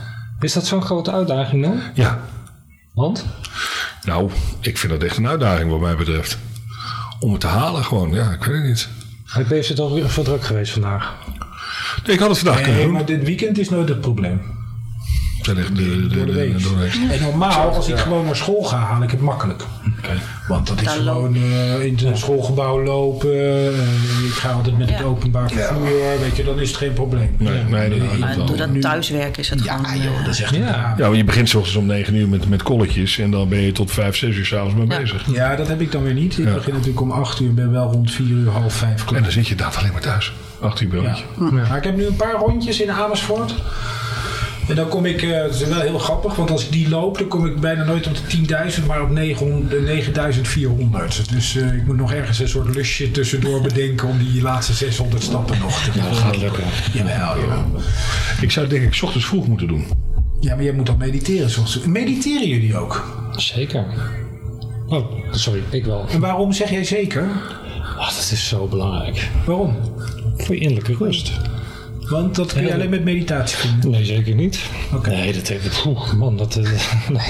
S5: Is dat zo'n grote uitdaging dan?
S4: ja,
S5: Want?
S4: nou, ik vind dat echt een uitdaging wat mij betreft. Om het te halen gewoon, ja, ik weet het niet.
S5: Hey, Ben je het al weer voor druk geweest vandaag?
S4: Nee, ik had het vandaag
S1: Nee,
S4: kunnen doen.
S1: maar dit weekend is nooit het probleem.
S4: Daar ligt de, de,
S1: door de week. En normaal, als ik gewoon naar school ga, haal ik het makkelijk. Want dat is
S6: Dan
S1: gewoon eh, in het schoolgebouw lopen. eh, ik ga altijd met het
S6: Ja.
S1: openbaar vervoer. Weet je, dan is het geen probleem.
S4: Nee, nee, dat
S6: Maar
S4: houdt
S6: door
S4: wel.
S6: dat thuiswerk is het
S1: Ja,
S6: gewoon...
S1: joh,
S6: eh,
S1: dat is echt een
S5: Ja.
S1: drama.
S4: Ja, want je begint 's ochtends om 9 uur met, met kolletjes en dan ben je tot 5, 6 uur s'avonds mee
S6: Ja.
S4: bezig.
S1: Ja, dat heb ik dan weer niet. Ik
S4: Ja.
S1: begin natuurlijk om 8 uur, ben wel rond 4 uur, half 5
S4: En
S1: klaar.
S4: dan zit je inderdaad alleen maar thuis. 8 uur
S1: Ja.
S4: broodje.
S1: Maar ik heb nu een paar rondjes in Amersfoort. En dan kom ik, eh, het is wel heel grappig, want als ik die loop, dan kom ik bijna nooit op de 10.000, maar op 900 9400. Dus eh, ik moet nog ergens een soort lusje tussendoor bedenken om die laatste 600 stappen nog te doen.
S5: Dat gaat lukken.
S1: Jawel, jawel.
S4: Ik zou het denk ik 's ochtends vroeg moeten doen.
S1: Ja, maar jij moet dan mediteren. Zoals... Mediteren jullie ook?
S5: Zeker. Oh, sorry, ik wel.
S1: En waarom zeg jij zeker?
S5: Ah, dat is zo belangrijk.
S1: Waarom?
S5: Voor je innerlijke rust.
S1: Want dat kun je
S5: Ja,
S1: alleen met meditatie vinden.
S5: Nee, zeker niet.
S1: Oké.
S5: Nee, dat heeft... Oeh, man, dat... eh, <laughs> nee.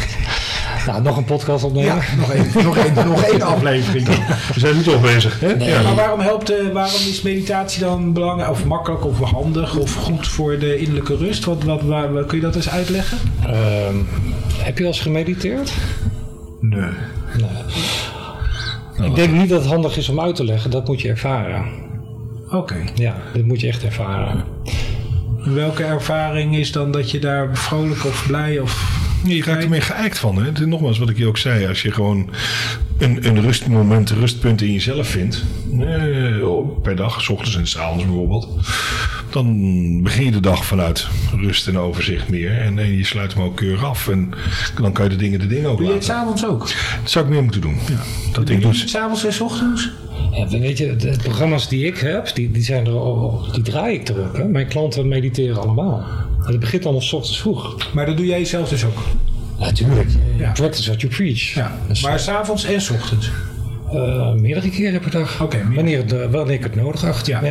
S5: Nou, nog een podcast opnemen.
S1: Nog één, nog één, nog één
S4: <laughs>
S1: aflevering.
S4: We zijn nu toch bezig, hè? Ja.
S1: Maar waarom, helpt, eh, waarom is meditatie dan belangrijk, of makkelijk, of handig, of goed voor de innerlijke rust? Wat, wat, waar, waar- kun je dat eens uitleggen?
S5: Ehm, heb je wel eens gemediteerd?
S1: Nee. Oh.
S5: ik denk niet dat het handig is om uit te leggen. Dat moet je ervaren.
S1: Oké.
S5: Ja, dat moet je echt ervaren.
S1: Welke ervaring is dan dat je daar vrolijk of blij of...
S4: Nee, Je raakt er meer geëikt van. Hè? Het is Nogmaals, wat ik je ook zei. Als je gewoon een, een rustmoment, rustpunt in jezelf vindt. eh, op- per dag, s ochtends en s avonds bijvoorbeeld. Dan begin je de dag vanuit rust en overzicht meer. En, eh, je sluit hem ook keurig af. En dan kan je de dingen de dingen ook
S1: Doe je het
S4: laten.
S1: s'avonds ook?
S4: Dat zou ik meer moeten doen. Dat ik
S1: Doe je
S4: dus.
S1: het s'avonds en 's ochtends?
S5: Ja, weet je, de programma's die ik heb, die, die, zijn er, al- die draai ik erop. Hè? Mijn klanten mediteren allemaal. En het begint allemaal s ochtends vroeg.
S1: Maar dat doe jij zelf dus ook?
S5: Natuurlijk.
S1: Ja.
S5: Practice what you preach.
S1: Ja.
S5: Dus,
S1: Maar s'avonds en 's ochtends?
S5: eh, meerdere keren per dag.
S1: Oké, meer-
S5: wanneer, het, eh, wanneer ik het nodig acht.
S1: Ja.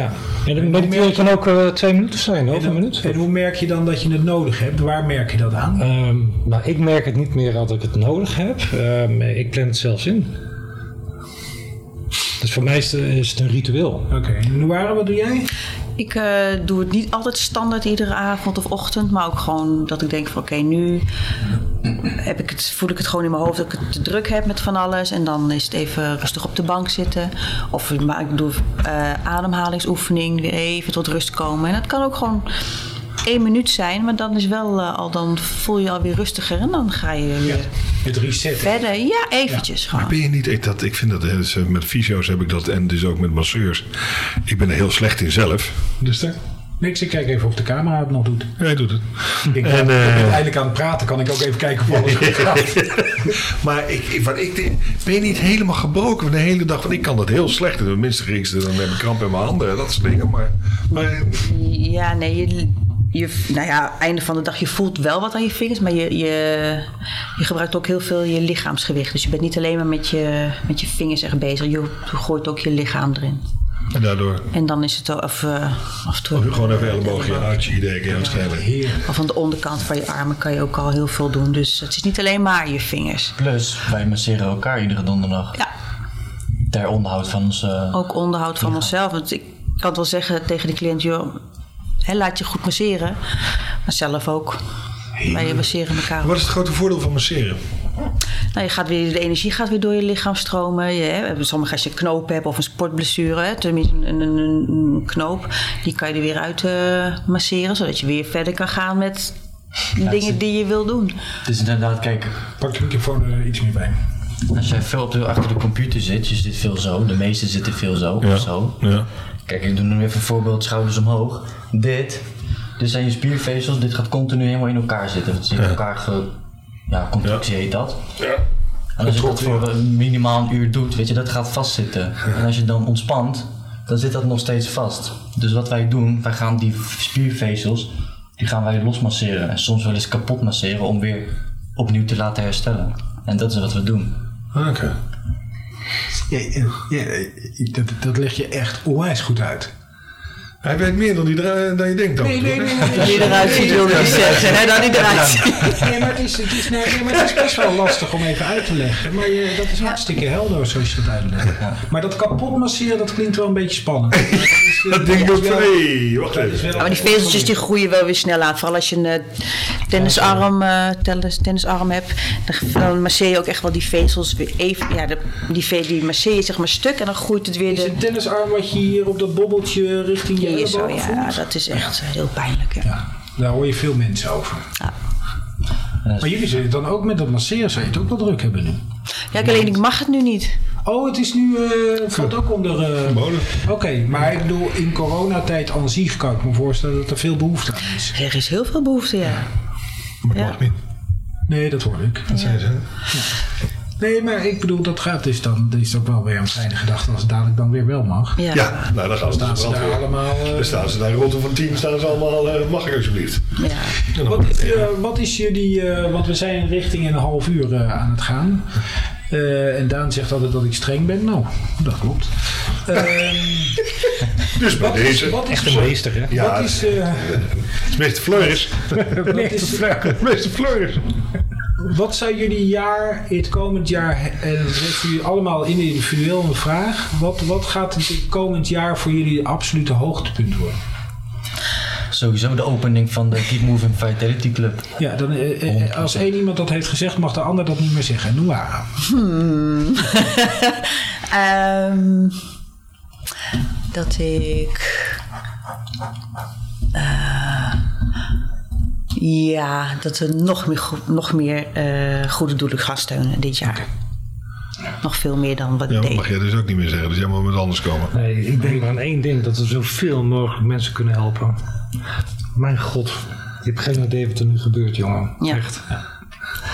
S5: En de mediteren kan ook eh, twee minuten zijn, of een minuut.
S1: En hoe merk je dan dat je het nodig hebt? Waar merk je dat aan?
S5: Ehm, maar ik merk het niet meer dat ik het nodig heb. Ehm, ik plan het zelfs in. Dus voor mij is het, is het een ritueel.
S1: Oké, en Noara, wat doe jij?
S6: Ik eh, doe het niet altijd standaard iedere avond of ochtend, maar ook gewoon dat ik denk van oké, nu heb ik het, voel ik het gewoon in mijn hoofd dat ik het te druk heb met van alles. En dan is het even rustig op de bank zitten. Of ik ma- ik doe eh, ademhalingsoefening, weer even tot rust komen. En dat kan ook gewoon één minuut zijn, maar dan is wel eh, al, dan voel je je alweer rustiger en dan ga je weer
S1: Het resetten.
S6: verder. Ja, eventjes
S4: Maar
S6: gewoon.
S4: ben je niet, ik, dat, ik vind dat, hè, dus, eh, met fysio's heb ik dat en dus ook met masseurs. Ik ben er heel slecht in zelf.
S1: Dus daar? Niks, ik kijk even of de camera het nog doet.
S4: Jij doet het.
S1: Ik denk,
S4: En,
S1: ja, ik ben
S4: eh,
S1: eindelijk aan het praten, kan ik ook even kijken of
S4: <laughs>
S1: alles goed gaat.
S4: maar ik, ik, wat ik denk, ben je niet helemaal gebroken van de hele dag? Want ik kan dat heel slecht. Tenminste, gisteren dan heb ik kramp in mijn handen en dat soort dingen. Maar, maar
S6: Ja, nee, je, je, nou ja, einde van de dag, je voelt wel wat aan je vingers, maar je, je, je gebruikt ook heel veel je lichaamsgewicht. Dus je bent niet alleen maar met je, met je vingers echt bezig, je gooit ook je lichaam erin.
S4: en daardoor
S6: En dan is het of, eh, af en toe,
S4: gewoon even elleboogje uit je idee kan je uitschrijven.
S1: Heerlijk.
S6: of aan de onderkant van je armen kan je ook al heel veel doen. Dus het is niet alleen maar je vingers.
S3: Plus, wij masseren elkaar iedere donderdag.
S6: Ja,
S3: Ter onderhoud van onze...
S6: ook onderhoud van onszelf. Want ik kan het wel zeggen tegen de cliënt, joh, hè, laat je goed masseren. Maar zelf ook. Wij masseren elkaar
S4: Wat is het grote voordeel van masseren?
S6: Nou, je gaat weer, de energie gaat weer door je lichaam stromen. Je, hè, sommige als je knoop hebt of een sportblessure, hè, tenminste een, een, een- een knoop, die kan je er weer uit eh, masseren, zodat je weer verder kan gaan met dingen die je wil doen.
S3: Het is inderdaad, kijk,
S1: Pak de microfoon eh, iets meer bij.
S3: als jij veel op de, achter de computer zit, je zit veel zo. De meesten zitten veel zo of zo.
S4: Ja.
S3: Kijk, ik doe nu even een voorbeeld, schouders omhoog. Dit, dit zijn je spiervezels, dit gaat continu helemaal in elkaar zitten. Het zit in elkaar ge... Ja, contractie heet dat. En als je dat voor een minimaal een uur doet, weet je, dat gaat vastzitten. En als je dan ontspant, dan zit dat nog steeds vast. Dus wat wij doen, wij gaan die spiervezels, die gaan wij losmasseren. En soms wel eens kapot masseren om weer opnieuw te laten herstellen. En dat is wat we doen.
S4: Oké.
S1: eh, Ja, ja, ja, dat, dat leg je echt onwijs goed uit.
S4: Hij weet meer dan, die, dra- dan je denkt dan.
S1: Nee, nee, nee, nee.
S6: Dat hij eruit ziet wilde hij zeggen. Hè, dat hij eruit ziet.
S1: Nee, maar het is, het is, nee, nee, maar het is best wel lastig om even uit te leggen. Maar je, dat is hartstikke helder zoals je dat uitlegt. Maar dat kapot masseren, dat klinkt wel een beetje
S4: <laughs>
S1: spannend. Dat, is, eh,
S4: Dat ding
S1: is
S4: doet
S1: wel-
S4: van, hé, wacht
S1: dat is
S4: even.
S1: wel-
S6: Maar Oh, die vezeltjes die groeien wel weer snel aan. Vooral als je een eh, tennisarm, eh, tennis, tennisarm hebt. Dan, dan masseer je ook echt wel die vezels weer even. Ja, de- die, ve- die masseer je zeg maar stuk en dan groeit het weer
S1: Is
S6: de...
S1: een tennisarm wat je hier op dat bobbeltje richting je
S6: Hier zo,
S1: elleboog
S6: ja,
S1: voelt?
S6: dat is echt eh, heel pijnlijk. Ja.
S1: Ja, daar hoor je veel mensen over.
S6: Ja.
S1: Maar jullie zullen dan ook met dat masseren, zou je het ook wel druk hebben nu?
S6: Ja, ik alleen ik mag het nu niet.
S1: Oh, het is nu, eh, het valt ook onder... eh,
S4: Verboden.
S1: Oké, maar ik bedoel, in coronatijd aan zich kan ik me voorstellen dat er veel behoefte aan is.
S6: Er is heel veel behoefte, ja.
S4: Maar
S6: Ja.
S4: dat mag niet.
S1: Nee, dat hoor ik.
S4: Dat zijn ze.
S1: Nee, maar ik bedoel, dat gaat dus dan. Dat is ook wel weer een fijne gedachte als het dadelijk dan weer wel mag.
S6: Ja.
S4: Ja, nou dan gaan ze
S1: Staan
S4: daar
S1: ze daar allemaal. eh,
S4: Dan staan ze daar rond van team, staan ze allemaal, eh, mag ik alsjeblieft.
S6: Ja.
S4: En dan-
S1: wat, eh, wat is jullie. eh, want we zijn richting een half uur eh, aan het gaan. Eh, en Daan zegt altijd dat ik streng ben. Nou, dat klopt. Ehm,
S4: dus bij
S1: wat is,
S4: <laughs> deze,
S1: wat is,
S5: De meester, hè?
S4: ja,
S1: wat is, <laughs> eh,
S4: meeste Fleuris.
S1: wat is,
S4: <laughs> meeste Fleuris.
S1: Wat zou jullie jaar, het komend jaar, en dat heeft jullie allemaal individueel een vraag. Wat, wat gaat het komend jaar voor jullie absolute hoogtepunt worden?
S3: Sowieso de opening van de Keep Moving Vitality Club.
S1: Ja, dan, eh, eh, als één iemand dat heeft gezegd, mag de ander dat niet meer zeggen. Noem maar aan.
S6: Ehm, dat ik. eh, ja, dat we nog meer, go- nog meer eh, goede doelen gaan steunen dit jaar. Nog veel meer dan wat
S4: Ja,
S6: ik
S4: dat
S6: deed.
S4: mag jij dus ook niet meer zeggen, dus jij moet met anders komen.
S5: Nee, ik denk maar aan één ding: dat we zoveel mogelijk mensen kunnen helpen. Mijn god, je hebt geen idee wat er nu gebeurt, jongen.
S6: Ja.
S5: Echt.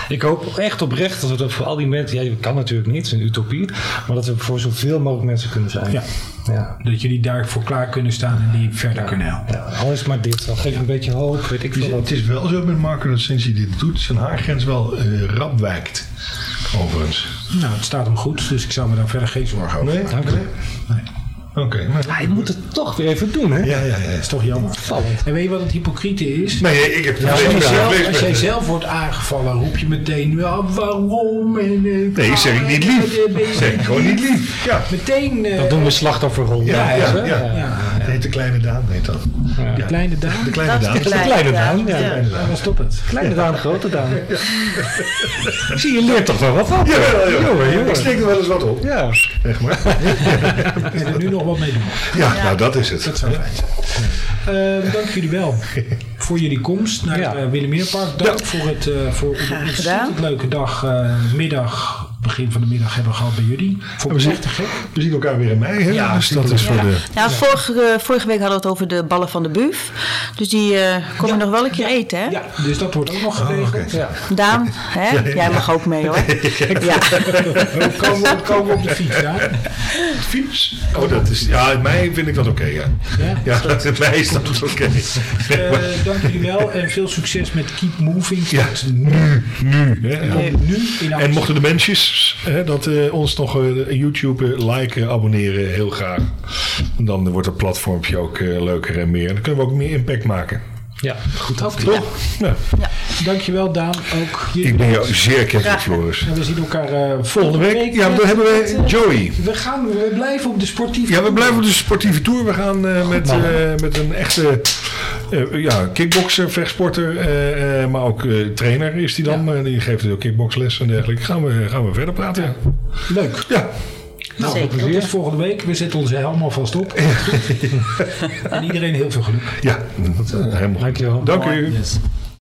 S5: Ik hoop echt oprecht dat we dat voor al die mensen. Ja, dat kan natuurlijk niet, het is een utopie. Maar dat we voor zoveel mogelijk mensen kunnen zijn.
S1: Ja.
S5: ja.
S1: Dat jullie daarvoor klaar kunnen staan en die verder kunnen helpen.
S5: Ja, al is het maar dit, dan geef een beetje hoop, weet ik veel wat.
S4: Het is wel zo met Marco dat sinds hij dit doet, zijn haargrens wel eh, rap wijkt. Overigens.
S1: Nou, het staat hem goed, dus ik zou me daar verder geen zorgen over
S4: Nee?
S1: maken.
S5: Dank u.
S4: Oké, maar.
S5: Hij moet het toch weer even doen, hè?
S4: Ja, ja, ja.
S1: Dat is toch jammer.
S5: Opvallend.
S1: En weet je wat het hypocriete is?
S4: Nee, ik heb
S1: Als
S4: geen
S1: jij,
S4: vraag.
S1: zelf,
S4: Vlees
S1: als jij
S4: met-
S1: zelf wordt aangevallen, roep je meteen "Ja, waarom. En, eh,
S4: Nee, zeg ik niet lief.
S1: eh, ben je-
S4: Zeg ik gewoon niet lief. Ja.
S1: Meteen. eh,
S5: Dat doen we slachtofferrol.
S4: Ja,
S1: Ja,
S4: ja,
S1: hè?
S4: ja.
S1: Ja.
S4: Het heet de kleine Daan, heet dat.
S1: De kleine dame.
S4: De kleine
S6: Dat is
S4: Daan.
S6: de
S5: Dat is een kleine daan. Ja.
S4: Kleine Daan.
S1: Ja, stop het.
S5: Kleine daan, grote daan. Zie je, leert toch wel wat van?
S4: Ja, ja, ja.
S5: Jongen, jongen.
S4: Ik steek er wel eens wat op.
S5: Ja.
S4: Echt maar.
S1: We er nu nog wat mee doen.
S4: Ja, nou dat is het.
S1: Dat zou fijn zijn. Eh, dank jullie wel voor jullie komst naar
S5: Ja.
S1: het eh, Willemeerpark. Dank voor, het, eh, voor een ontzettend
S6: gedaan.
S1: leuke dag, eh, middag, begin van de middag hebben we gehad bij jullie. Vond ik
S4: zien-
S1: echt te gek.
S4: We zien elkaar weer in mei, hè?
S1: Ja,
S4: dus dat is voor de...
S6: Ja, Nou, vorige, vorige week hadden we het over de ballen van de buf. Dus die eh kom je nog wel een keer eten, hè?
S1: Ja, dus dat wordt ook nog geregeld.
S4: oké.
S1: ja. <laughs>
S6: Daan, hè? jij mag ook mee, hoor. Ja.
S1: We komen, we komen op de fiets, ja.
S4: Fiets? Oh, dat is... Ja, in mei vind ik dat oké, ja.
S1: Ja?
S4: Ja, <laughs> in mei is dat oké. <laughs>
S1: Eh, dank jullie wel en veel succes met Keep Moving.
S4: Ja,
S1: Tot
S4: nu, nu. Hè?
S1: Nu in
S4: En
S1: actie.
S4: mochten de mensjes hè, dat, eh, ons nog eh, YouTube eh, liken, abonneren, heel graag. Dan wordt het platformpje ook eh, leuker en meer. Dan kunnen we ook meer impact maken.
S5: Ja, goed.
S4: Toch? Ja.
S1: Dankjewel Daan, ook jullie.
S4: Ik ben jou zeer kerkelijk, Floris.
S1: En we zien elkaar eh,
S4: Volgende week, ja, dan hebben we Joey.
S1: We, gaan, we blijven op de sportieve
S4: Ja, we blijven op de sportieve tour. We gaan eh, met, eh, met een echte eh, ja, kickbokser, vechtsporter, eh, eh, maar ook eh, trainer is die dan. Eh, die geeft ook kickboxles en dergelijke. Gaan we, gaan we verder praten. Ja.
S1: Leuk.
S4: Ja.
S1: Nou,
S6: Zeker.
S1: dat is volgende week. We zetten onze helm alvast
S4: <laughs>
S1: op. en iedereen heel veel geluk.
S4: Ja, dat, eh, helemaal goed.
S5: Dankjewel.
S4: Dank u.
S1: Yes.